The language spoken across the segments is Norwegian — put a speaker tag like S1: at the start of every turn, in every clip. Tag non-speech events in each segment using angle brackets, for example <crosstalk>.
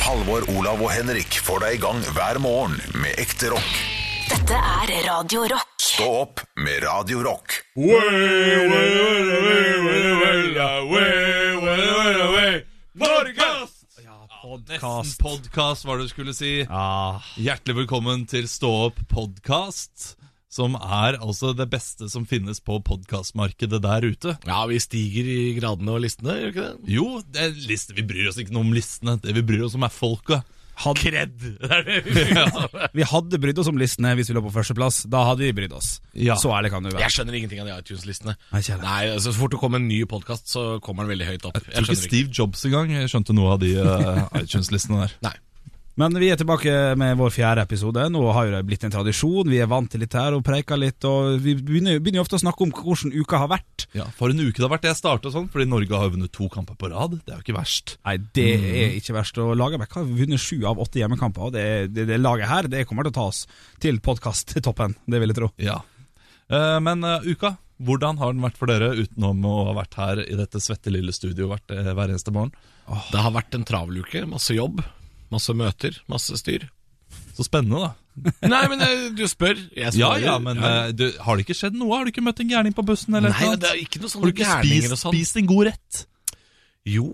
S1: Halvor, Olav og Henrik får deg i gang hver morgen med ekte rock.
S2: Dette er Radio Rock.
S1: Stå opp med Radio Rock.
S3: Norges!
S4: Podcast.
S3: Podkast, var det du skulle si.
S4: Ah,
S3: Hjertelig velkommen til Stå opp podkast, som er altså det beste som finnes på podkastmarkedet der ute.
S4: ja, vi stiger i gradene og listene, gjør vi ikke det?
S3: Jo, det er liste, vi bryr oss ikke noe om listene. Det vi bryr oss om, er folka. Kred! <laughs>
S5: Vi hadde brydd oss om listene hvis vi lå på førsteplass. Da hadde vi brydd oss.
S3: Ja.
S5: Så ærlig kan du være.
S4: Jeg skjønner ingenting av de iTunes-listene.
S5: Nei, ikke heller.
S4: Nei, altså, Så fort det kommer en ny podkast, så kommer den veldig høyt opp.
S3: Jeg tror ikke Steve Jobs engang skjønte noe av de eh, iTunes-listene der.
S4: Nei.
S5: Men vi er tilbake med vår fjerde episode. Nå har jo det blitt en tradisjon. Vi er vant til litt her og preika litt. Og vi begynner, begynner jo ofte å snakke om hvordan uka har vært.
S3: Ja, For en uke det har vært. Jeg starta sånn, fordi Norge har jo vunnet to kamper på rad. Det er jo ikke verst.
S5: Nei, det
S4: Mhm.
S5: er ikke verst. Og Lagerbäck har vunnet sju av åtte hjemmekamper. Og det, det, det laget her det kommer til å ta oss til podkast-toppen. Det vil jeg tro.
S3: Ja. Eh, men eh, uka, hvordan har den vært for dere utenom å ha vært her i dette svette lille studioet hvert, eh, hver eneste morgen?
S4: Det har vært en travel uke. Masse jobb, masse møter, masse
S3: <laughs>
S4: styr.
S3: Så spennende, da.
S4: Nei, men eh, du spør. Jeg svarer.
S3: <laughs> Ja, ja, men eh, du, har det ikke skjedd noe? Har du ikke møtt en gærning på bussen? eller
S4: Nei,
S3: noe?
S4: det er ikke noe
S3: Har
S4: sånne
S3: du ikke
S4: gærninger
S3: spist,
S4: og sånn.
S3: spist en god rett?
S4: Jo,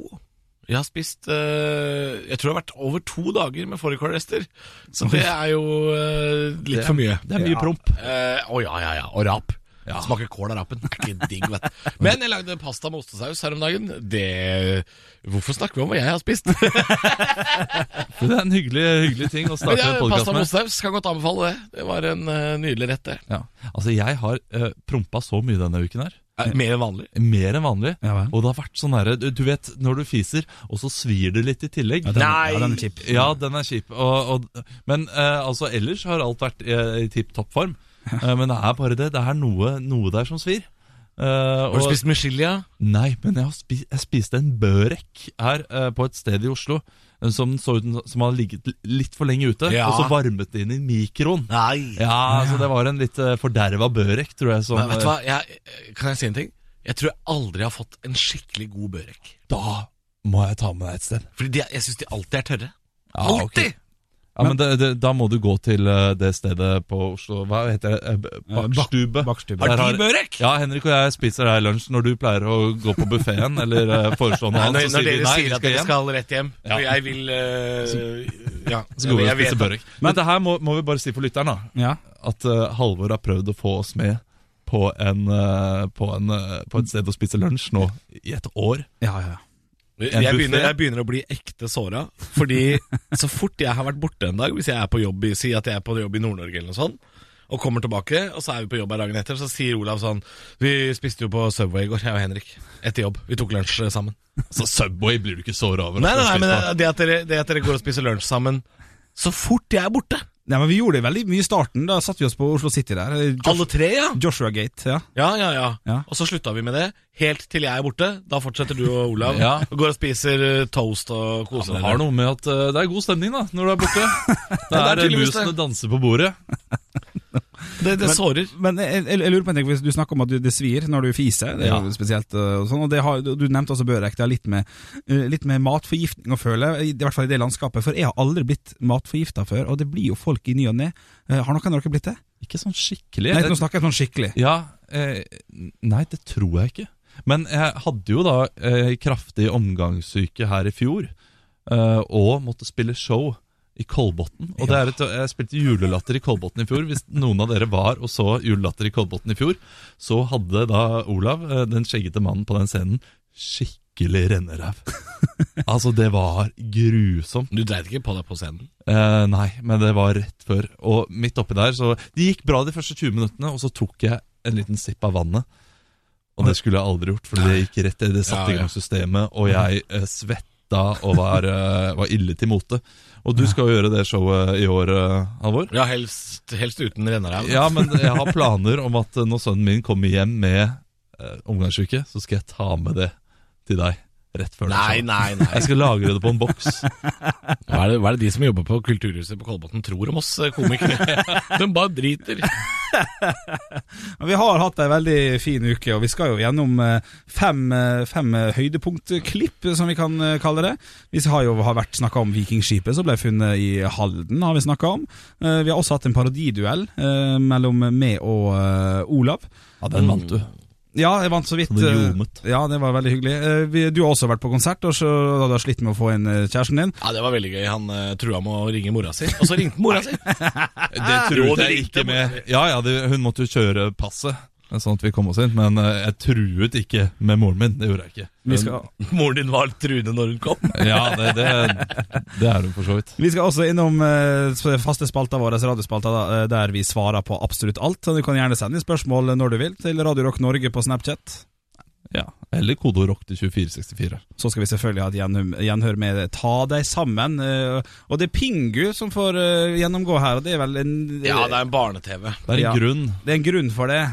S4: jeg har spist eh, Jeg tror det har vært over to dager med fårikålrester. Så det er jo eh, litt
S3: Det-
S4: for mye. Eh,
S3: Det er mye promp.
S4: Å ja, ja, ja. Og rap.
S3: Ja.
S4: Smaker kål av rapen. Det er ikke digg, vet
S3: <laughs>
S4: du. Men jeg lagde pasta med ostesaus her om dagen. Det Hvorfor snakker vi om hva jeg har spist? <laughs>
S3: Det er en hyggelig, hyggelig <laughs> ting å
S4: Men
S3: starte
S4: ja,
S3: en
S4: pasta
S3: podkast
S4: med
S3: med.
S4: ostesaus kan godt anbefale det. Det var en eh, nydelig rett, det.
S3: Ja. Altså, jeg har eh, prompa så mye denne uken her.
S4: Eh, Mer enn vanlig.
S3: Mer enn vanlig.
S5: Ja, vel.
S3: og det har vært sånn derre du, du vet når du fiser, og så svir det litt i tillegg.
S5: Den,
S4: Nei!
S5: Ja, den er kjip.
S3: Ja, den er kjip. Og, og, men eh, altså, ellers har alt vært i, i tipp topp form. Eh, men det er bare det. Det er noe, noe der som svir. Eh,
S4: Har du
S3: og-
S4: spist med chili?
S3: Nei, men jeg, har spi jeg spiste en børek her eh, på et sted i Oslo eh, som så ut som- som hadde ligget l- litt for lenge ute,
S4: Ja.
S3: og så varmet det inn i mikroen.
S4: Nei.
S3: Ja, så det var en litt uh, forderva børek, tror jeg. Som,
S4: Men, vet du hva, jeg, eh, kan jeg si en ting? Jeg tror jeg aldri har fått en skikkelig god børek.
S3: Da må jeg ta med deg et sted.
S4: Fordi de, er- jeg syns de alltid er tørre.
S3: Ja,
S4: Alltid!
S3: ok. Ja, men det, det, Da må du gå til eh, det stedet på Oslo Hva heter det? Eh, b-
S5: bak-
S3: Bakstube.
S5: bakstube.
S3: Der
S4: Har de børek?
S3: Ja, Henrik og jeg spiser her i lunsj når du pleier å gå på buffeen eller eh, foreslå noe annet. Så
S4: når, når
S3: sier vi
S4: dere
S3: nei,
S4: sier
S3: vi
S4: at
S3: skal
S4: dere
S3: hjem.
S4: skal rett hjem,
S3: Ja.
S4: og jeg vil eh, <laughs> Ja,
S3: Så går vi
S4: jeg
S3: og
S4: vet
S3: spiser
S4: at-
S3: børek. Men dette her må, må vi bare si for lytteren, da.
S5: Ja.
S3: At eh, Halvor har prøvd å få oss med på, en, eh, på, en, eh, på et sted å spise lunsj nå i et år.
S5: Ja, ja, ja.
S3: En
S4: Jeg begynner,
S3: buffet.
S4: jeg begynner å bli ekte såra. Fordi <laughs> så fort jeg har vært borte en dag, hvis jeg er på jobb i, si at jeg er på jobb i Nord-Norge eller noe sånt, og kommer tilbake, og så er vi på jobb her dagen etter, så sier Olav sånn Vi spiste jo på Subway i går, jeg og Henrik. Etter jobb. Vi tok lunsj eh, sammen.
S3: Så Subway blir du ikke såra over.
S4: Nei,
S3: at du
S4: nei, nei,
S3: har spist
S4: men
S3: på.
S4: det- det at dere, det at dere går og spiser lunsj sammen så fort jeg er borte.
S5: Nei, men Vi gjorde det veldig mye i starten. Da satte vi oss på Oslo City der.
S4: Alle tre, ja.
S5: Joshua Gate. ja
S4: Ja, ja, ja.
S5: Ja.
S4: Og så slutta vi med det, helt til jeg er borte. Da fortsetter du og Olav <laughs>
S3: Ja.
S4: og går og spiser eh, toast og koser
S3: Altså, Det
S4: dere.
S3: har noe med at eh, det er god stemning da når du
S4: <laughs>
S3: er borte. Det er
S4: er
S3: eh,
S4: tydeligvis det.
S3: musene danser på bordet.
S4: det, det sårer.
S5: Men jeg, jeg, jeg lurer på en ting, hvis du snakker om at du, det svir når du fiser, det er
S3: Ja.
S5: jo spesielt øh, og sånn, og det har, du nevnte også Børek, det har litt med, øh, litt med matforgiftning å føle, i i hvert fall i det landskapet, for jeg har aldri blitt matforgifta før, og det blir jo folk i ny og ne. Eh, Har noen av dere blitt det?
S3: Ikke sånn skikkelig.
S5: Nei, nå snakker jeg sånn skikkelig.
S3: Ja, eh, nei, det tror jeg ikke. Men jeg hadde jo da eh, kraftig omgangssyke her i fjor, eh, og måtte spille show i Kolbotn. Og det er et, jeg spilte julelatter i Kolbotn i fjor. Hvis noen av dere var og så julelatter i Kolbotn i fjor, så hadde da Olav, eh, den skjeggete mannen på den scenen, skikkelig renneræv. Altså, det var grusomt.
S4: Du dreit ikke på deg på scenen?
S3: Eh, nei, men det var rett før. Og midt oppi der, så Det gikk bra de første 20 minuttene, og så tok jeg en liten sipp av vannet. Og det skulle jeg aldri gjort, for det gikk rett Det satte
S4: Ja, ja.
S3: i gang systemet, og jeg eh, svetta og var, eh, var ille til mote. Og du skal jo gjøre det showet i år, eh, Halvor.
S4: Ja, helst, helst uten renneræv.
S3: Ja, men jeg har planer om at eh, når sønnen min kommer hjem med eh, omgangssyke, så skal jeg ta med det til deg rett før det
S4: Nei,
S3: showet.
S4: nei, nei. <laughs>
S3: Jeg skal lagre det på en boks.
S4: <laughs> Hva er, det, hva er det de som jobber på Kulturhuset på Kolbotn tror om oss eh, komikere? De bare driter.
S5: Men vi har hatt ei veldig fin uke, og vi skal jo gjennom eh, fem, eh, fem eh, høydepunktklipp, som vi kan eh, kalle det. Vi har jo har vært snakka om Vikingskipet som ble funnet i Halden, har vi snakka om. Eh, Vi har også hatt en parodiduell eh, mellom meg og eh, Olav.
S3: Ja, den vant du.
S5: Ja, jeg vant så vidt.
S3: Så det
S5: eh,
S3: ljomet.
S5: Ja, det var veldig hyggelig. Eh, vi- Du har også vært på konsert, og så har du slitt med å få inn eh, kjæresten din.
S4: Ja, Det var veldig gøy. Han eh, trua med å ringe mora si, og så ringte mora si!
S3: Det truet jeg ikke med. Ja, ja, det, Hun måtte jo kjøre passet, sånn at vi kom oss inn. Men eh, jeg truet ikke med moren min. Det gjorde jeg ikke.
S5: Vi skal,
S4: <laughs> Moren din var truende når hun kom.
S3: Ja, det, det, det er hun for så vidt.
S5: Vi skal også innom eh, sp- faste spalta vår, radiospalta, da, eh, der vi svarer på absolutt alt. Så Du kan gjerne sende inn spørsmål når du vil til Radio Rock Norge på Snapchat.
S3: Ja, Eller kode rock til 2464.
S5: Så skal vi selvfølgelig ha et gjenhør, gjenhør med Ta deg sammen. eh, og det er Pingu som får eh, gjennomgå her, og det er vel en
S4: Ja, det er en barne-TV.
S3: Det er en
S5: Ja.
S3: grunn.
S5: det er en grunn for det.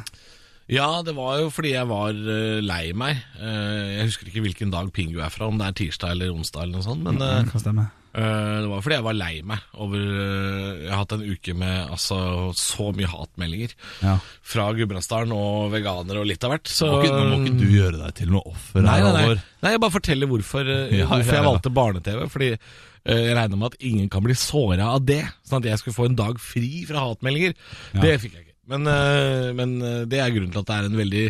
S4: Ja, det var jo fordi jeg var eh, lei meg. Eh, Jeg husker ikke hvilken dag Pingu er fra, om det er tirsdag eller onsdag eller noe sånt. Men eh,
S3: Mm.
S5: Det kan stemme.
S4: eh, det var fordi jeg var lei meg over eh, Jeg har hatt en uke med altså, så mye hatmeldinger
S5: Ja.
S4: fra Gudbrandsdalen og veganere og litt av hvert. Så
S3: Nå må ikke, nå må ikke du gjøre deg til noe offer
S4: Nei,
S3: her,
S4: nei, nei.
S3: Halvor.
S4: nei, jeg bare forteller hvorfor, eh,
S3: Ja,
S4: hvorfor
S3: ja,
S4: jeg
S3: ja.
S4: valgte barne-TV. Fordi eh, jeg regner med at ingen kan bli såra av det. Sånn at jeg skulle få en dag fri fra hatmeldinger. Det fikk jeg ikke. Men, eh, men eh, det er grunnen til at det er en veldig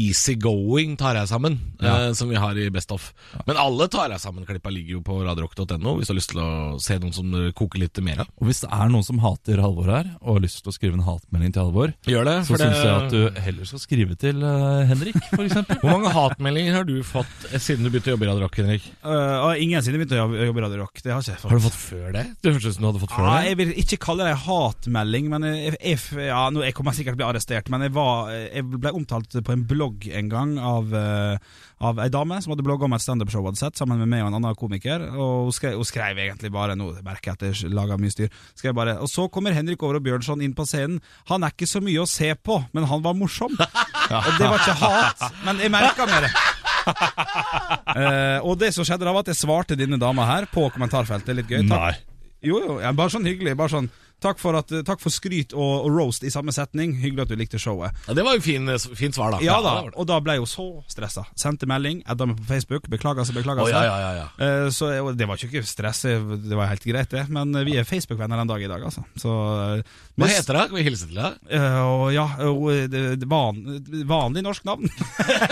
S4: easy going tar jeg sammen, eh, som vi har i Best of. Men alle tar jeg sammen-klippa ligger jo på radiorock.no, hvis du har lyst til å se noen som eh, koker litt mer av.
S3: Og Hvis det er noen som hater Halvor her, og har lyst til å skrive en hatmelding til Halvor,
S4: Gjør det.
S3: så syns jeg at du heller skal skrive til eh, Henrik, f.eks. <laughs>
S4: Hvor mange hatmeldinger har du fått eh, siden du begynte å jobbe i Radio Rock, Henrik?
S5: Eh, og ingen siden jeg begynte å jobbe- jobbe i Radio Rock. Det har ikke jeg fått.
S4: Har du fått før det? Det hørtes ut som du hadde fått før
S5: Ja,
S4: det.
S5: jeg vil ikke kalle det en hatmelding, men jeg, jeg, ja, nå, jeg kommer sikkert bli arrestert. Men jeg, var, jeg ble omtalt på en blogg en gang av, eh, av ei dame som hadde blogga om et standupshow hun hadde sett, sammen med meg og en annen komiker. Og hun skrev, hun skrev egentlig bare Nå merker jeg at jeg lager mye styr. Skrev bare Og så kommer Henrik Over og Bjørnson inn på scenen. Han er ikke så mye å se på, men han var
S4: <laughs>
S5: morsom. Og det var ikke hat, men jeg merka med det. Eh, og det som skjedde da, var at jeg svarte denne dama her på kommentarfeltet. Litt gøy. Takk jo, jo, ja, bare sånn hyggelig. Bare sånn Takk for, at, takk for skryt og, og roast i samme setning. Hyggelig at du likte showet.
S4: Ja, det var jo fin, fint svar, da.
S5: Ja da,
S4: det var det.
S5: Og da ble jeg jo så stressa. Sendte melding, adda meg på Facebook. Beklager seg, beklager
S4: Å,
S5: seg.
S4: ja, ja, ja, ja.
S5: Eh, Så jeg- og det var jo ikke stress, jeg- det var helt greit, det. Men eh, vi er Facebook-venner den dag i dag, altså. Så eh,
S4: Hva heter det? Kan vi hilse til deg?
S5: Og ja, og eh, det- det van, vanlig norsk navn.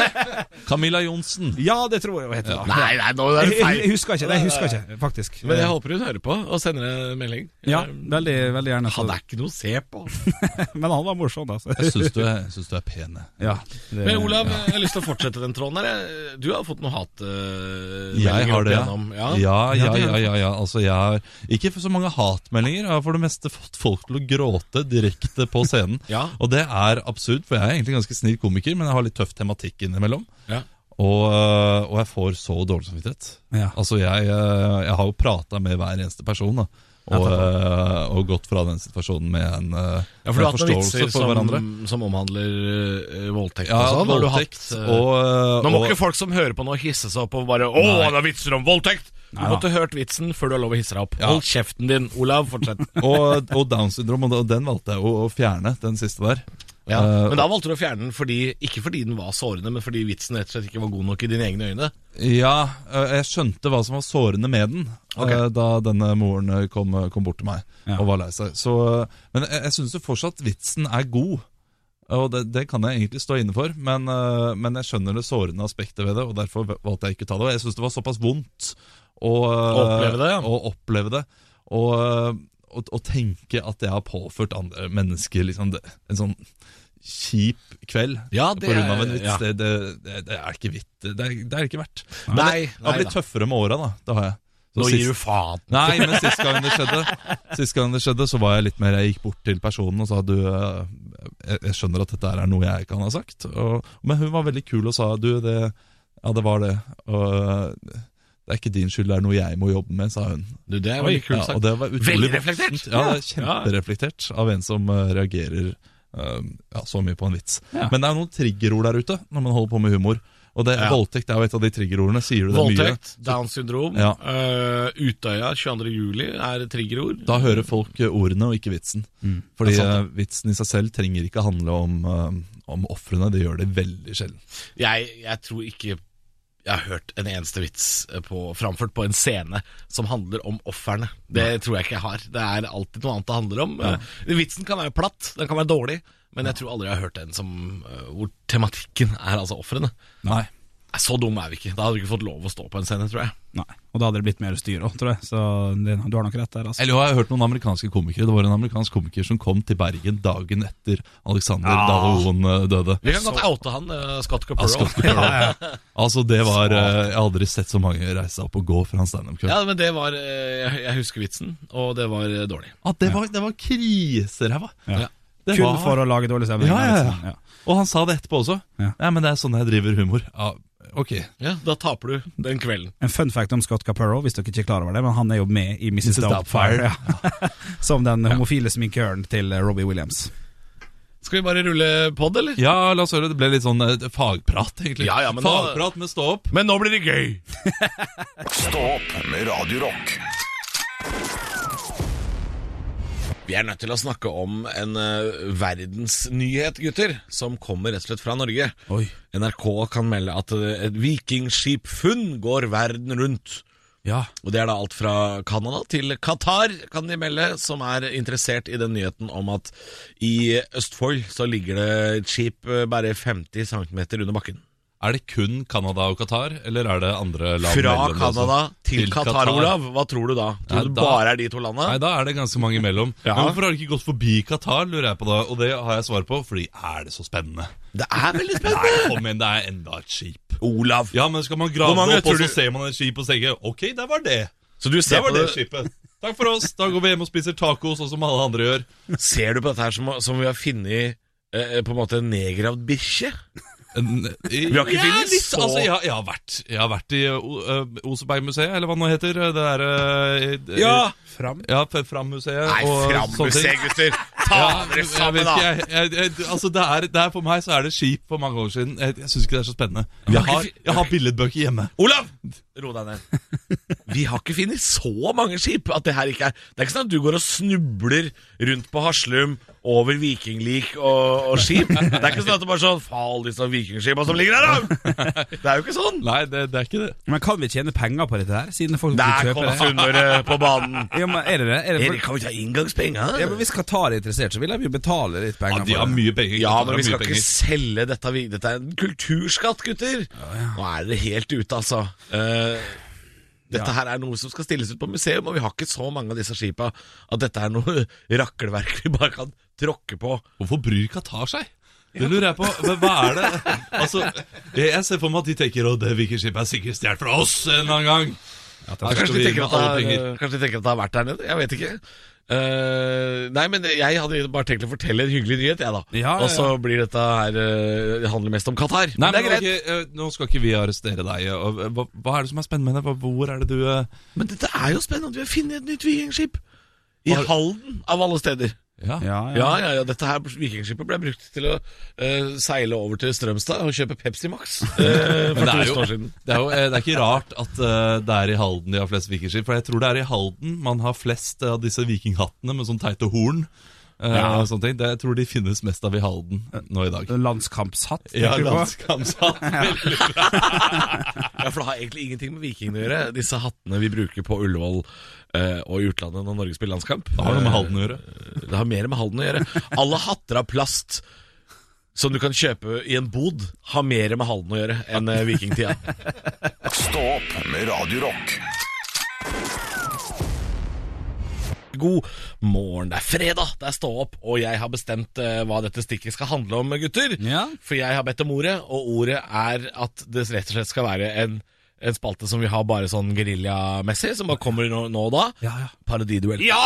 S5: <laughs>
S3: Camilla Johnsen.
S5: ja, det tror jeg hun heter. da
S4: Nei, nei, nå er det
S5: Jeg, jeg
S4: feil.
S5: husker ikke, nei, jeg husker ikke, faktisk.
S4: <laughs>
S5: Eh,
S4: Men jeg håper hun hører på og sender en melding.
S5: Ja,
S4: Eh,
S5: veldig, veldig gjerne.
S4: Han
S5: Så.
S4: er ikke noe å se på.
S5: <laughs> Men han var morsom, da. så-
S3: Jeg syns du, er- jeg synes du er pen. jeg.
S5: Eh, Ja, det-
S4: Men Olav, jeg har lyst til å fortsette den tråden her. jeg. Du har fått noe hat eh,
S3: Jeg
S4: meldinger
S3: har
S4: opp
S3: det, ja.
S4: igjennom.
S3: Ja,
S4: Ja.
S3: ja,
S5: Ja,
S3: ja.
S5: det har
S3: ja, ja, Altså, jeg har ikke så mange hatmeldinger. Jeg har for det meste fått folk til å gråte direkte på scenen.
S4: <laughs> Ja.
S3: Og det er absurd, for jeg er egentlig ganske snill komiker, men jeg har litt tøff tematikk innimellom.
S4: Ja.
S3: Og, øh, og jeg får så dårlig samvittighet.
S5: Ja.
S3: Altså, jeg, øh, jeg har jo prata med hver eneste person, da. Og, øh, og gått fra den situasjonen med en, øh,
S4: Ja, for du
S3: en
S4: har hatt noen vitser
S3: for
S4: som, som omhandler eh, voldtekt
S3: Ja,
S4: og sånn. har du
S3: voldtekt
S4: hatt, eh,
S3: og, øh,
S4: Nå må
S3: og-
S4: ikke folk som hører på nå hisse seg opp og bare 'Å, han har vitser om voldtekt!' Du
S5: Nei da.
S4: måtte hørt vitsen før du har lov å hisse deg opp.
S3: Ja.
S4: Hold kjeften din, Olav. Fortsett.
S3: og, og Downs syndrom, og den valgte jeg å, å fjerne, den siste der.
S4: Ja,
S3: Eh,
S4: Men da valgte du å fjerne den fordi, ikke fordi den var sårende, men fordi vitsen rett og slett ikke var god nok i dine egne øyne.
S3: Ja, øh, jeg skjønte hva som var sårende med den
S4: Ok.
S3: øh, da denne moren øh, kom, kom bort til meg
S5: Ja.
S3: og var lei seg. Så, øh, men jeg, jeg syns jo fortsatt vitsen er god, og det, det kan jeg egentlig stå inne for. Men, øh, men jeg skjønner det sårende aspektet ved det, og derfor valgte jeg ikke å ta det. Og jeg syns det var såpass vondt å, øh,
S4: Å oppleve det, ja.
S3: å oppleve det, og, øh, og, og tenke at jeg har påført andre mennesker liksom, det, en sånn kjip kveld
S4: Ja,
S3: på grunn av en vits.
S4: ja.
S3: Det, det, det, det er ikke vitt. Det er, det er ikke verdt. Men
S4: Nei,
S3: det
S4: nei
S3: har blitt
S4: da.
S3: tøffere med åra, da. Det har jeg. Så
S4: Nå
S3: sist-
S4: gir du faen.
S3: Nei, men sist gang det skjedde, sist gang det skjedde så var jeg litt mer Jeg gikk bort til personen og sa du eh, Jeg jeg skjønner at dette her er noe jeg ikke kan ha sagt. Og, men hun var veldig kul og sa du, det Ja, det var det. Og eh, det er ikke din skyld, det er noe jeg må jobbe med, sa hun.
S4: Du, det er
S3: Oi,
S4: veldig kult
S3: ja, og
S4: sagt.
S3: det var utrolig
S4: Veldig
S3: voksent.
S4: reflektert.
S3: Ja, det er kjempereflektert av en som eh, reagerer eh, ja, så mye på en vits. Men det er noen triggerord der ute når man holder på med humor. Og det,
S4: Ja.
S3: voldtekt er jo et av de triggerordene. Sier du det
S4: Voldtekt, Downs syndrom,
S3: Ja.
S4: eh, Utøya 22. juli er triggerord.
S3: mye, da hører folk eh, ordene og ikke vitsen. Fordi
S4: Det er sant,
S3: eh, vitsen i seg selv trenger ikke handle om, eh, om ofrene. Det gjør det veldig sjelden.
S4: Jeg, jeg tror ikke jeg har hørt en eneste vits på, framført på en scene som handler om ofrene. Det tror jeg ikke jeg har. Det er alltid noe annet det handler om. Eh, Vitsen kan være platt, den kan være dårlig, men jeg tror aldri jeg har hørt en som, eh, hvor tematikken er altså ofrene.
S3: Nei.
S4: Nei, Så dumme er vi ikke. Da hadde vi ikke fått lov å stå på en scene, tror jeg.
S5: Nei. Og da hadde det blitt mer styr òg, tror jeg. Så det, du har nok rett der, altså.
S3: Eller jo, jeg har hørt noen amerikanske komikere. Det var en amerikansk komiker som kom til Bergen dagen etter Alexander
S5: Ja.
S3: Dahl Hoen eh, døde.
S4: Vi kan godt oute han, eh, Scott Capurro.
S3: Scott Capurro. Altså, det var eh, Jeg har aldri sett så mange reise seg opp og gå fra en standup-kveld.
S4: <laughs> Ja, men det var eh, Jeg jeg husker vitsen, og det var eh, dårlig.
S3: Ah, det, var- det var kriseræva!
S5: Ja.
S3: Det
S5: Kun
S3: var-
S5: for å lage dårlig stemning.
S3: Ja, ja, ja.
S5: liksom.
S3: Og han sa det etterpå også.
S5: Ja.
S3: Ja. men det er sånn jeg driver humor. Ja, ok.
S4: Ja, Da taper du den kvelden.
S5: En fun fact om Scott Capurro, hvis dere ikke er klar over det, men han er jo med i Mrs.
S3: Mrs. Doubtfire.
S5: Doubtfire. Ja. <laughs> Som den homofile sminkøren til eh, Robbie Williams.
S4: Skal vi bare rulle pod, eller?
S3: Ja, la oss høre. Det ble litt sånn eh, fagprat, egentlig.
S4: Ja, ja, men da-
S3: fagprat med stå opp.
S4: Men nå blir det gøy!
S1: Stå opp med Radio Rock.
S4: Vi er nødt til å snakke om en eh, verdensnyhet, gutter, som kommer rett og slett fra Norge.
S5: Oi.
S4: NRK kan melde at eh, et vikingskipfunn går verden rundt.
S5: Ja.
S4: Og Det er da alt fra Canada til Qatar, kan de melde, som er interessert i den nyheten om at i Østfold så ligger det et skip eh, bare 50 cm under bakken.
S3: Er det kun Canada og Qatar, eller er det andre land?
S4: Fra
S3: mellom det også?
S4: Canada altså. til, Qatar, Olav. Hva tror du da? Tror
S3: Nei,
S4: du
S3: da-
S4: bare er de to landa?
S3: Nei, da er det ganske mange imellom.
S4: Ja.
S3: Men hvorfor har de ikke gått forbi Qatar, lurer jeg på da. Og det har jeg svar på, fordi er det så spennende?
S4: Det er veldig
S3: Nei,
S4: spennende!
S3: kom igjen, det er enda et skip.
S4: Olav.
S3: Ja, men skal man
S4: Hvor
S3: grave
S4: mange
S3: opp, og
S4: tror
S3: så
S4: du-
S3: ser man et skip og tenker Ok, der var det.
S4: Så du
S3: Der
S4: ser,
S3: var
S4: på
S3: det
S4: det,
S3: skipet. Takk for oss. Da går vi hjem og spiser taco, sånn som alle andre gjør.
S4: ser du på dette her som, som vi har funnet eh, på en måte en nedgravd bikkje?
S3: Vi
S4: har ikke funnet
S3: litt,
S4: så-
S3: altså, Eh, jeg, har- jeg, har vært, jeg har vært i uh, Osebergmuseet, eller hva det nå heter. Det der eh, i-
S4: Ja.
S5: Fram.
S3: ja F- Fram-museet.
S4: Nei,
S3: og
S4: fram
S3: sånne ting.
S4: gutter! Ta
S3: Ja,
S4: dere
S3: jeg vet
S4: sammen,
S3: ikke,
S4: da!
S3: jeg, jeg, jeg, altså det er, det er for meg så er det skip for mange år siden. Jeg, jeg syns ikke det er så spennende. Jeg
S4: ikke
S3: har,
S4: fi-
S3: jeg har billedbøker hjemme.
S4: Olav! Ro deg ned. Vi har ikke funnet så mange skip at det her ikke er Det er ikke sånn at du går og snubler rundt på Haslum over vikinglik og, og skip. Det er ikke sånn at det bare er sånn Faen, disse vikingskipa som ligger her, da! Det er jo ikke sånn.
S3: Nei, det, det er ikke det.
S5: Men kan vi tjene penger på dette her, siden folk
S4: Der
S5: vil
S4: kom
S5: kjøpe det?
S4: sunnere på banen.
S5: Ja, men er det det? Er det
S4: Erik, kan vi ta inngangspenger?
S5: ja, men hvis Qatar er interessert, så vil de jo betale litt
S3: Ja,
S5: penger
S3: de har
S5: for det.
S3: mye penger.
S4: Ja,
S3: Qatar
S4: men
S3: har
S4: vi skal
S3: mye
S4: ikke selge dette. vi- Dette er en kulturskatt, gutter. Nå er dere helt ute, altså. Eh, dette her er noe som skal stilles ut på museum, og vi har ikke så mange av disse skipa at dette er noe <laughs> rakkelverk vi bare kan tråkke på.
S3: Hvorfor bryr Qatar seg? Det lurer jeg på. Men hva er det? Altså, jeg, jeg ser for meg at de tenker at det vikingskipet er sikkert stjålet fra oss en eller annen gang. Her
S4: Kanskje
S3: skal vi
S4: de,
S3: inn
S4: tenker
S3: med
S4: at det
S3: alle
S4: har,
S3: penger.
S4: eh, kanskje de tenker at det har vært der nede. Jeg vet ikke. Eh, nei, men jeg hadde bare tenkt å fortelle en hyggelig nyhet, jeg, da.
S5: Ja, ja,
S4: Og så blir dette her eh, Det handler mest om Qatar.
S3: Nei,
S4: Men
S3: men ok, eh, Nå skal ikke vi arrestere deg. Og, eh, hva, hva er det som er spennende med det? Hva- Hvor er det du eh,
S4: Men dette er jo spennende. Vi har funnet et nytt vikingskip. I Halden, av alle steder.
S3: Ja.
S5: Ja, ja.
S4: Ja, ja, ja, dette her vikingskipet ble brukt til å eh, seile over til Strømstad og kjøpe Pepsi Max <laughs>
S3: Men
S4: eh, for
S3: det er jo-
S4: 1000 år siden.
S3: <laughs> Det, er jo, eh, det er ikke rart at eh, det er i Halden de har flest vikingskip. For jeg tror det er i Halden man har flest av disse vikinghattene med sånn teite horn. eh, og sånne ting. Det, jeg tror de finnes mest av i Halden nå i dag.
S5: Landskampshatt,
S3: Ja,
S5: Eh, tenker du på?
S3: landskampshatt. Veldig
S4: Ja, for det har egentlig ingenting med vikingene å gjøre, disse hattene vi bruker på Ullevål eh, og i utlandet når Norge spiller landskamp.
S3: Det har noe med Halden å gjøre.
S4: Eh, Det har mer med Halden å gjøre. Alle hatter av plast som du kan kjøpe i en bod, har mer med Halden å gjøre enn eh, vikingtida.
S1: Stå opp med Radio Rock.
S4: God morgen, det er fredag, det er stå opp, og jeg har bestemt eh, hva dette stikket skal handle om, gutter.
S5: Ja.
S4: For jeg har bedt om ordet, og ordet er at det rett og slett skal være en, en spalte som vi har bare sånn geriljamessig, som bare kommer nå, nå og da.
S5: Ja, ja.
S4: Parodiduell.
S5: Ja,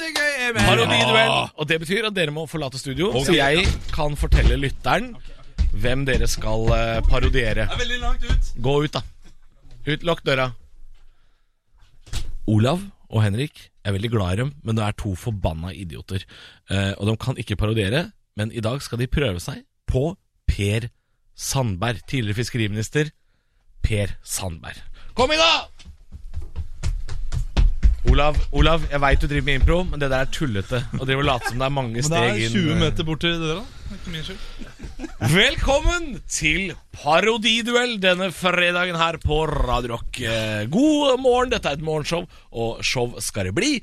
S5: det er gøy! Jeg er med.
S4: Parodiduell! Og det betyr at dere må forlate studio, så jeg kan fortelle lytteren hvem dere skal eh, parodiere.
S3: Veldig langt ut.
S4: Gå ut, da. Ut, Lukk døra. Olav og Henrik jeg er veldig glad i dem, men de er to forbanna idioter. Eh, og de kan ikke parodiere, men i dag skal de prøve seg på Per Sandberg. Tidligere fiskeriminister Per Sandberg. Kom inn, da! Olav, Olav, jeg veit du driver med impro, men det der er tullete. Og driver og later som det er mange
S3: Men det
S4: steg
S3: er
S4: inn. eh,
S3: 20 meter bort til døra. Det er ikke min skyld.
S4: Velkommen til Parodiduell denne fredagen her på Radio Rock. Eh, God morgen, dette er et morgenshow, og show skal det bli.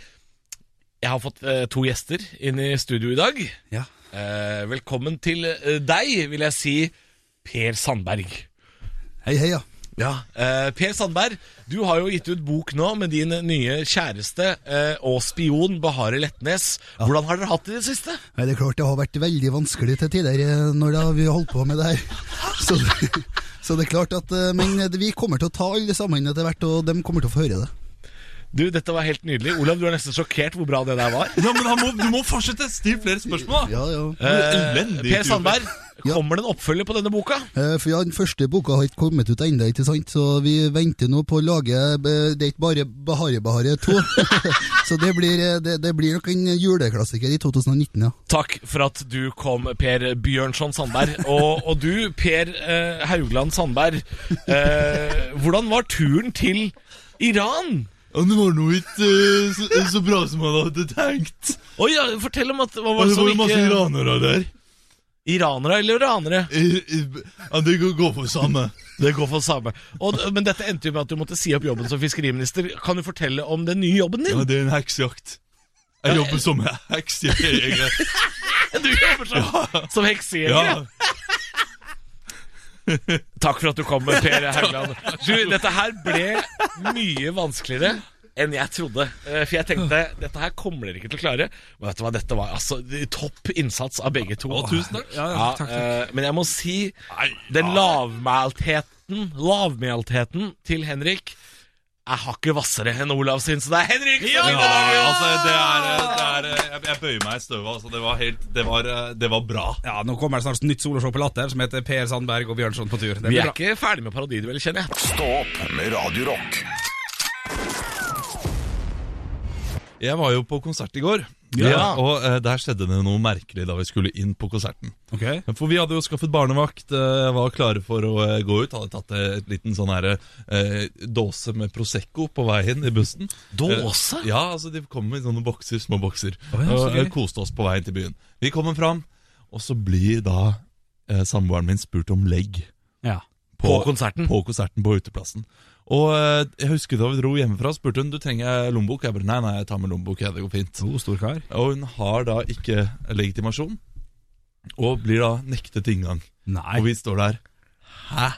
S4: Jeg har fått eh, to gjester inn i studio i dag.
S5: Ja.
S4: Eh, velkommen til eh, deg, vil jeg si, Per Sandberg.
S5: Hei, hei, ja.
S4: Ja, eh, Per Sandberg, du har jo gitt ut bok nå med din nye kjæreste eh, og spion Bahare Letnes. Hvordan har dere hatt det i det siste?
S6: Nei, det er klart det har vært veldig vanskelig til tider eh, når da vi har holdt på med det her. <laughs> Så, så det er klart at eh, Men vi kommer til å ta alle sammen etter hvert, og de kommer til å få høre det.
S4: Du, dette var helt nydelig. Olav, du er nesten sjokkert hvor bra det der var.
S3: Ja, men han må, Du må fortsette! Still flere spørsmål! da.
S6: Ja, ja.
S4: Eh,
S3: Elendig
S4: per
S3: type.
S4: Sandberg,
S6: Ja.
S4: kommer det en oppfølger på denne boka?
S6: Eh, For ja, Den første boka har ikke kommet ut ennå, ikke sant? så vi venter nå på å lage eh, Det er ikke bare Bahare Bahare 2. <laughs> så det blir, eh, det, det blir nok en juleklassiker i 2019, ja.
S4: Takk for at du kom, Per Bjørnson Sandberg. Og, og du, Per eh, Haugland Sandberg. Eh, hvordan var turen til Iran?
S3: Ja, Det var nå ikke eh, så, så bra som han hadde tenkt.
S4: Oi, ja, fortell om at, hva
S3: Og
S4: var det
S3: det
S4: som
S3: var jo masse
S4: ikke
S3: iranere der.
S4: Iranere eller ranere?
S3: Eh, eh, Ja, det går- går for samme.
S4: Det går for samme. Og, men dette endte jo med at du måtte si opp jobben som fiskeriminister. Kan du fortelle om den nye jobben din?
S3: Ja, det er en heksejakt. Jeg jobber som <laughs> heksejeger.
S4: Du jobber som, som heksejeger.
S3: Ja.
S4: Takk for at du kom, Per Haugland. Du, dette her ble mye vanskeligere enn jeg trodde. Eh, For jeg tenkte dette her kommer dere ikke til å klare. Men vet du hva, dette var altså topp innsats av begge to.
S3: tusen takk.
S5: Ja, ja,
S4: Ja,
S5: takk, takk.
S4: eh, men jeg må si den lavmæltheten Lavmæltheten til Henrik Jeg har ikke vassere enn Olav sin, så det er Henrik! som
S3: Ja,
S4: vinner dagen!
S3: altså, det er, det er jeg, jeg bøyer meg i støvet. Altså, det var helt Det var, eh, det var bra.
S5: Ja, Nå kommer det snart nytt soloshow på Latter som heter Per Sandberg og Bjørnson på tur. Det
S4: Vi
S5: blir
S4: er
S5: bra.
S4: ikke ferdig med parodiduell, kjenner jeg.
S1: Stå opp med Radio Rock.
S3: Jeg var jo på konsert i går.
S4: Ja.
S3: Og eh, der skjedde det noe merkelig da vi skulle inn på konserten.
S5: Ok.
S3: For vi hadde jo skaffet barnevakt, eh, var klare for å eh, gå ut. Hadde tatt eh, et liten sånn her, eh, dåse med Prosecco på veien i bussen.
S4: Dåse?
S3: Eh, ja, altså de kom med sånne bokser, små bokser.
S5: ja,
S3: og
S5: så
S3: eh,
S5: gøy.
S3: koste oss på veien til byen. Vi kommer fram, og så blir da eh, samboeren min spurt om legg
S5: Ja.
S4: På konserten.
S3: på konserten på uteplassen. Og eh, jeg husker da vi dro hjemmefra, spurte hun du trenger lommebok. Jeg bare nei, nei, jeg tar med lommebok, ja, det går fint.
S5: To stor kar.
S3: Og hun har da ikke legitimasjon, og blir da nektet inngang.
S5: Nei.
S3: Og vi står der. Hæ?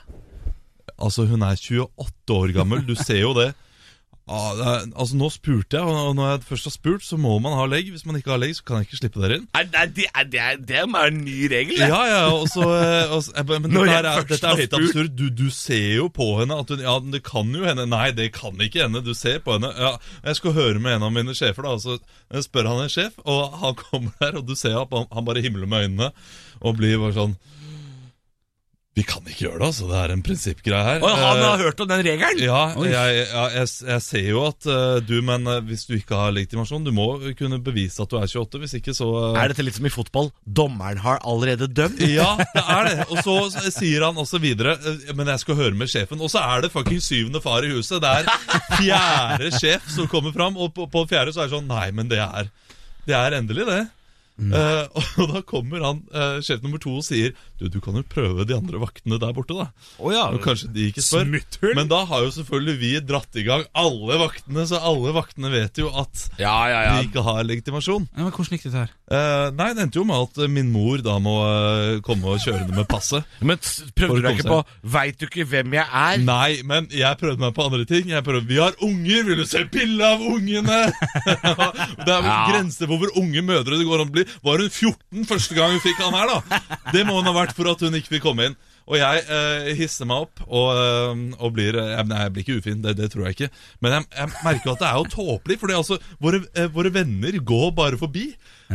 S3: Altså, hun er 28 år gammel, du ser jo det. Ja, det er, altså, nå spurte jeg, og når jeg først har spurt, så må man ha legg. Hvis man ikke har legg, så kan jeg ikke slippe dere inn.
S4: Nei, nei, det er, det er, det er bare en ny regel. det.
S3: Ja, ja, og så, eh, og så jeg bare, Men
S4: Når
S3: dette,
S4: jeg
S3: her er,
S4: først
S3: dette
S4: har
S3: er helt
S4: spurt.
S3: absurd. Du, du ser jo på henne at hun Ja, det kan jo hende. Nei, det kan ikke hende. Du ser på henne. Ja, jeg skal høre med en av mine sjefer, da. Og så eh, spør han en sjef, og han <laughs> kommer der, og du ser at han- han bare himler med øynene og blir bare sånn Vi kan ikke gjøre det, altså. Det er en prinsippgreie her.
S4: Og han
S3: Eh,
S4: har hørt om den regelen?
S3: ja, jeg, ja jeg, jeg ser jo at eh, du Men eh, hvis du ikke har legitimasjon, du må kunne bevise at du er 28. Hvis ikke, så eh,
S4: Er dette litt som i fotball? Dommeren har allerede dømt.
S3: ja, det er det. Og så sier han også videre eh, Men jeg skal høre med sjefen. Og så er det fucking syvende far i huset. Det er fjerde sjef som kommer fram, og på, på fjerde så er det sånn Nei, men det er Det er endelig, det. Eh, og da kommer han eh, sjef nummer to og sier Du, du kan jo prøve de andre vaktene der borte, da.
S5: Å ja.
S3: Og kanskje de ikke spør.
S5: Smutthull.
S3: Men da har jo selvfølgelig vi dratt i gang alle vaktene, så alle vaktene vet jo at
S4: Ja, ja,
S3: de ikke har legitimasjon.
S5: Ja, men Hvordan gikk dette her?
S3: Eh, nei, det endte jo med at eh, min mor da må eh, komme og kjøre det med passet.
S4: Men s- prøvde
S3: For å
S4: du deg ikke på
S3: komme
S4: 'veit du ikke hvem jeg er'?
S3: Nei, men jeg prøvde meg på andre ting. Jeg prøvde, Vi har unger! Vil du se bilde av ungene?! <laughs> det er
S4: Ja.
S3: grenser for hvor unge mødre det går an å bli. Var hun 14 første gang hun fikk han her, da? Det må hun ha vært for at hun ikke fikk komme inn. Og jeg eh, hisser meg opp og, eh, og blir eh, Nei, jeg blir ikke ufin, det, det tror jeg ikke. Men jeg, jeg merker jo at det er jo tåpelig, for altså, våre, eh, våre venner går bare forbi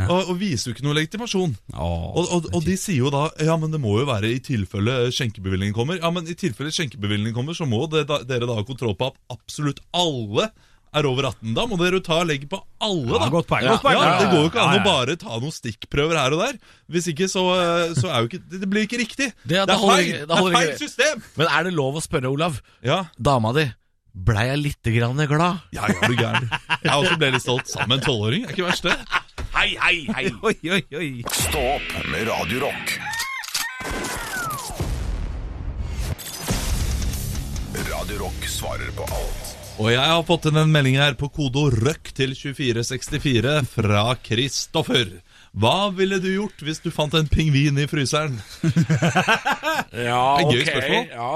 S3: og, og viser jo ikke noe legitimasjon. Og, og, og de sier jo da Ja, men det må jo være i tilfelle skjenkebevilgningen kommer. Ja, men i tilfelle skjenkebevilgningen kommer, så må det da, dere da ha kontroll på ab- absolutt alle er over 18. Da må dere jo ta og legge på alle, da.
S5: Ja, godt poeng, godt poeng.
S3: Ja, det går jo ikke an
S5: Ja,
S3: å
S5: ja.
S3: bare ta noen stikkprøver her og der. Hvis ikke, så, eh, så er jo ikke Det blir ikke riktig.
S4: da
S3: Det, er
S4: holder
S3: feil!
S4: ikke-
S3: Det
S4: da
S3: er
S4: holder
S3: feil
S4: ikke-
S3: system!
S4: Men er det lov å spørre, Olav?
S3: Ja,
S4: Dama di, blei jeg lite grann glad?
S3: ja, ja du gæren. Jeg også ble litt stolt sammen med en tolvåring. Er ikke verst, det.
S4: Hei, hei, hei!
S5: Oi, oi, oi.
S1: Stå opp med Radio Rock. Radio Rock svarer på alt.
S3: Og jeg har fått inn en melding her på kodo røkk til 2464 fra Kristoffer. Hva ville du gjort hvis du fant en pingvin i fryseren?
S4: Ja,
S3: Det er
S4: ok.
S3: gøy spørsmål.
S4: Ja.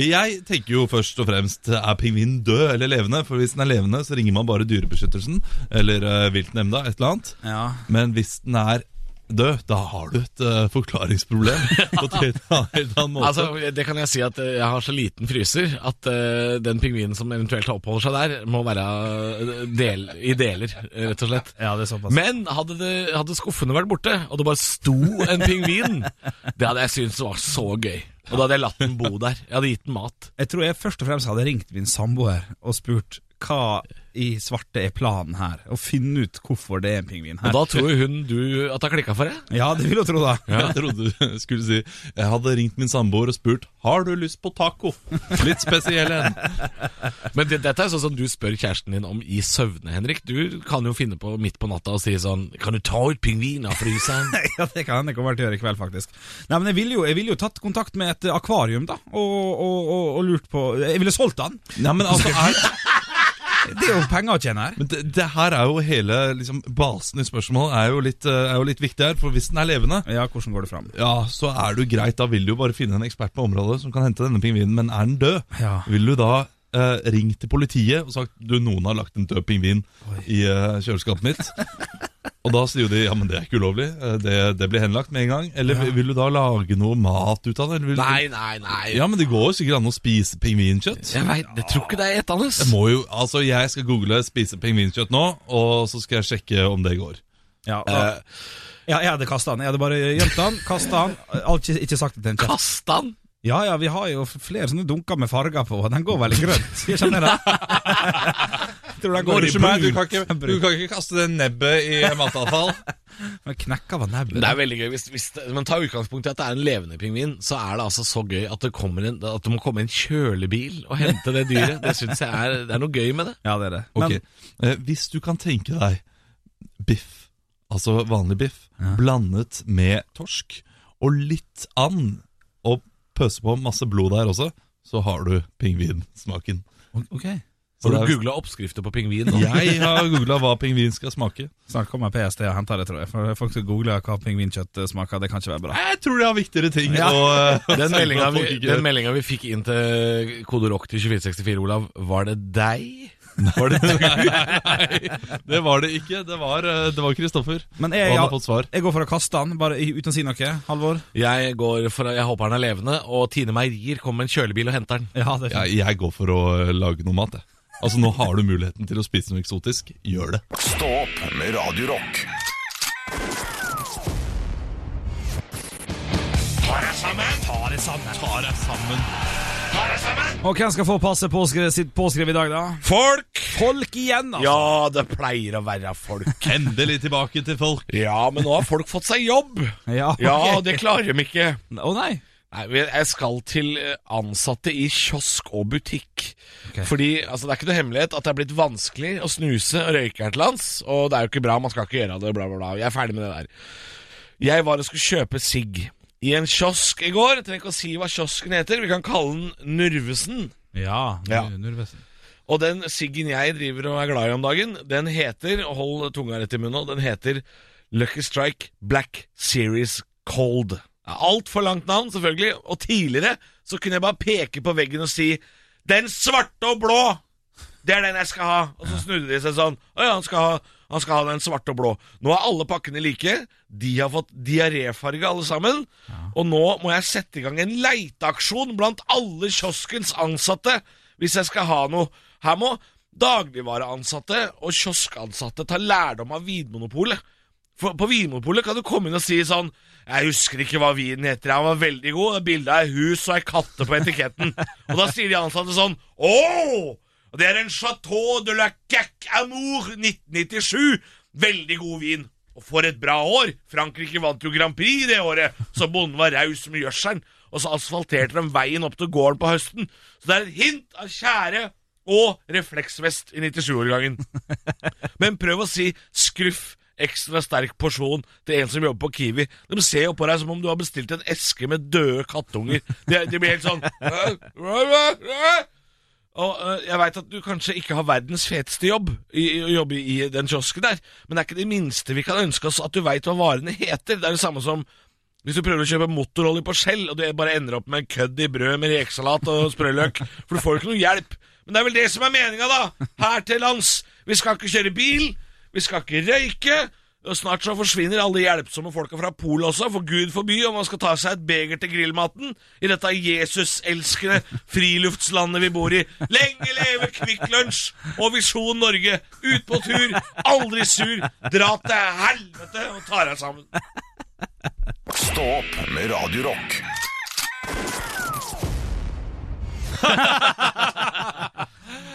S3: Jeg tenker jo først og fremst Er pingvinen død eller levende? For hvis den er levende, så ringer man bare Dyrebeskyttelsen eller eh, Viltnemnda. et eller annet
S5: Ja.
S3: Men hvis den er død, da har du et eh, forklaringsproblem. På en helt annen måte
S4: Altså, det kan jeg si at eh, jeg har så liten fryser at eh, den pingvinen som eventuelt oppholder seg der, må være eh, del, i deler, eh, rett og slett.
S5: ja, det er såpass.
S4: Men hadde, det, hadde skuffene vært borte, og det bare sto en pingvin, det hadde jeg syntes var så gøy. Og da hadde jeg latt den bo der. Jeg hadde gitt den mat.
S5: Jeg tror jeg først og fremst hadde ringt min samboer og spurt hva i svarte er planen her, og finne ut hvorfor det er en pingvin
S4: Og
S5: her.
S4: da tror jo hun du at det har klikka for deg.
S5: Ja, det vil jeg tro, da. <laughs>
S3: Jeg trodde du skulle si Jeg hadde ringt min samboer og spurt Har du lyst på taco. Litt spesiell en.
S4: Men det, dette er sånn som du spør kjæresten din om i søvne, Henrik. Du kan jo finne på midt på natta og si sånn Kan du ta ut pingvinen av
S3: <laughs>
S4: fryseren?
S5: Ja, Det kan hende jeg kommer til å gjøre i kveld, faktisk. Nei, men Jeg ville jo, jeg ville jo tatt kontakt med et akvarium, da, og, og, og, og lurt på Jeg ville solgt den!
S3: Nei, men altså er,
S5: <laughs> Det er jo penger å tjene her.
S3: men det, det her er jo hele liksom, basen i spørsmålet er jo, litt, eh, er jo litt viktig her. For hvis den er levende,
S5: Ja, hvordan går det fram?
S3: ja, så er det jo greit. Da vil du jo bare finne en ekspert på området som kan hente denne pingvinen. Men er den død,
S5: Ja.
S3: vil du da eh, ringt til politiet og sagt du, noen har lagt en død pingvin i eh, kjøleskapet <laughs> mitt. Og da sier jo de ja, men det er ikke ulovlig, eh, det, det blir henlagt med en gang. Eller vil- vil du da lage noe mat ut av det? Eller vil,
S4: Nei, nei, nei.
S3: Ja, men det går jo sikkert an å spise pingvinkjøtt.
S4: Jeg vet, jeg tror ikke det er
S3: Jeg
S4: etende.
S3: må jo, altså jeg skal google 'spise pingvinkjøtt' nå, og så skal jeg sjekke om det går.
S5: Ja, og,
S4: Eh,
S5: ja Jeg hadde kasta den. Jeg hadde bare gjemt den, kasta den. Alt ikke, ikke sagt det til en kjeft.
S4: Kast den!
S5: Ja ja, vi har jo flere sånne dunker med farger på, og den går vel i grønt? <laughs> Jeg kjenner det. Jeg tror den går i
S3: du,
S5: brun.
S3: kan ikke, du kan ikke kaste det nebbet i matavfall.
S5: Men knekka var nebbet.
S4: Det er veldig gøy hvis, hvis det, Men ta utgangspunkt i at det er en levende pingvin Så er det altså så gøy at det, kommer en, at det må komme en kjølebil Og hente det dyret Det synes jeg er, det er noe gøy med det
S5: Ja, det er det. Men,
S3: Ok, eh, Hvis du kan tenke deg biff, altså vanlig biff, blandet med torsk og litt and, og pøse på masse blod der også, så har du pingvinsmaken.
S5: ok.
S3: Så
S4: Har
S3: det er-
S4: du googlet oppskrifter på pingvin nå?
S3: Jeg har googla hva pingvin skal smake.
S5: Snart kommer PST og henter det, tror jeg. For folk skal google hva pingvinkjøtt smaker. Det kan ikke være bra.
S3: Jeg tror de har viktigere ting
S5: Ja.
S3: å eh,
S4: <laughs> Den meldingen,
S3: folk
S4: vi,
S3: ikke gjør.
S4: den meldingen vi fikk inn til Kode Rock til 2464, Olav Var det deg? Var det du?
S3: Det var det ikke. Det var, eh, det var Kristoffer.
S5: Men
S3: Og
S5: jeg,
S3: han har
S5: ja,
S3: fått svar.
S5: jeg går for å kaste den, bare i- uten å si noe. Halvor?
S4: Jeg, går for, jeg håper han er levende Og Tine Meier kommer med en kjølebil og henter den
S5: Ja, det
S3: Jeg, jeg går for å eh, lage noe mat, jeg. Altså, nå har du muligheten til å spise noe eksotisk. Gjør det.
S1: Stå opp med Radio Rock.
S5: Og hvem skal få passet påskrevet, sitt påskrevet i dag, da?
S4: Folk!
S5: Folk igjen, altså!
S4: Ja, det pleier å være folk
S3: Endelig tilbake til folk.
S4: Ja, men nå har folk fått seg <laughs> jobb
S5: Ja, ok.
S4: Ja, det klarer de ikke
S5: Å nei.
S4: Nei, men Jeg skal til eh, ansatte i kiosk og butikk. Fordi altså, Det er ikke noe hemmelighet at det er blitt vanskelig å snuse og røyke her til lands. Og det er jo ikke bra, man skal ikke gjøre det, bla, bla, bla. Jeg er ferdig med det der. Jeg var og skulle kjøpe sigg i en kiosk i går. Jeg trenger ikke å si hva kiosken heter, vi kan kalle den Nurvesen.
S5: Ja,
S4: Ja.
S5: nu- Nurvesen.
S4: Og den siggen jeg driver og er glad i om dagen, den heter, og hold tunga rett i munnen, nå, den heter Lucky Strike Black Series Cold. Altfor langt navn, selvfølgelig, og tidligere så kunne jeg bare peke på veggen og si Den svarte og blå! Det er den jeg skal ha! Og så snudde de seg sånn. Å ja, han skal ha, han skal ha den svarte og blå. Nå er alle pakkene like. De har fått diaréfarge, alle sammen. Og nå må jeg sette i gang en leiteaksjon blant alle kioskens ansatte hvis jeg skal ha noe. Her må dagligvareansatte og kioskansatte ta lærdom av Vinmonopolet. For på Vinmonopolet kan du komme inn og si sånn Jeg husker ikke hva vinen heter, han var veldig god. Det bildet er hus og ei katte på etiketten. og da sier de ansatte sånn Åh! Og det er en Chateau de la Cac Amour 1997. Veldig god vin. Og for et bra år! Frankrike vant jo Grand Prix det året, så bonden var raus med gjødselen. Og så asfalterte de veien opp til gården på høsten. Så det er et hint av tjære og refleksvest i 97-årgangen. Men prøv å si skruff ekstra sterk porsjon til en som jobber på Kiwi. De ser jo på deg som om du har bestilt en eske med døde kattunger. De, de blir helt sånn «Hæ? Hva? Hva? Hva?» Og øh, jeg veit at du kanskje ikke har verdens feteste jobb i, i å jobbe i den kiosken der, men det er ikke det minste vi kan ønske oss at du veit hva varene heter. Det er det samme som hvis du prøver å kjøpe motorolje på skjell, og det bare ender opp med en kødd i brød med rekesalat og sprøløk, for du får jo ikke noe hjelp. Men det er vel det som er meninga, da! Her til lands. Vi skal ikke kjøre bil, vi skal ikke røyke. Og Snart så forsvinner alle hjelpsomme folka fra Polet også, for gud forby om man skal ta seg et beger til grillmaten i dette Jesus-elskende friluftslandet vi bor i. Lenge leve Kvikk Lunsj og Visjon Norge! Ut på tur, aldri sur, dra til helvete og ta deg sammen.
S1: Stå opp med Radio Rock.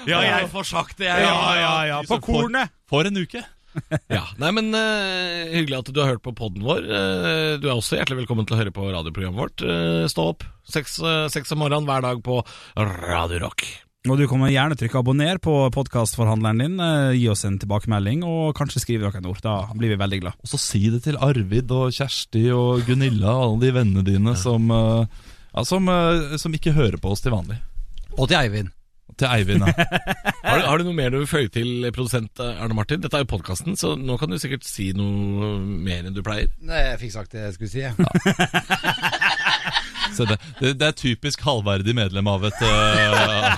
S4: Ja, jeg får sagt det, jeg.
S5: Ja, ja, ja. På kornet!
S3: For en uke!
S4: <laughs> Ja, nei, men eh, Hyggelig at du har hørt på podden vår. Eh, du er også hjertelig velkommen til å høre på radioprogrammet vårt. Eh, stå opp seks, eh, seks om morgenen hver dag på Radio Rock.
S5: Og du kommer gjerne trykke abonner på podkastforhandleren din. eh, Gi oss en tilbakemelding, og kanskje skrive dere en ord. Da blir vi veldig glad.
S3: Og så si det til Arvid og Kjersti og Gunilla og alle de vennene dine som, eh, ja, som, eh, som ikke hører på oss til vanlig.
S7: Og til Eivind.
S3: Til Eivind, ja.
S4: <laughs> Har du, har du noe mer du vil føye til, produsent eh, Arne Martin? Dette er jo podkasten, så nå kan du sikkert si noe mer enn du pleier.
S7: Nei, jeg fikk sagt det jeg skulle si. jeg.
S3: <laughs> Se det. Det, det er typisk halvverdig medlem av et, <laughs> eh,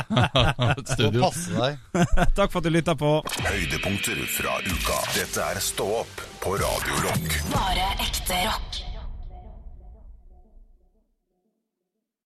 S3: et
S7: Må
S3: studio.
S7: passe deg.
S5: Takk for at du lytta på.
S1: Høydepunkter fra uka. Dette er Stå opp på Radio Rock.
S2: Bare ekte rock.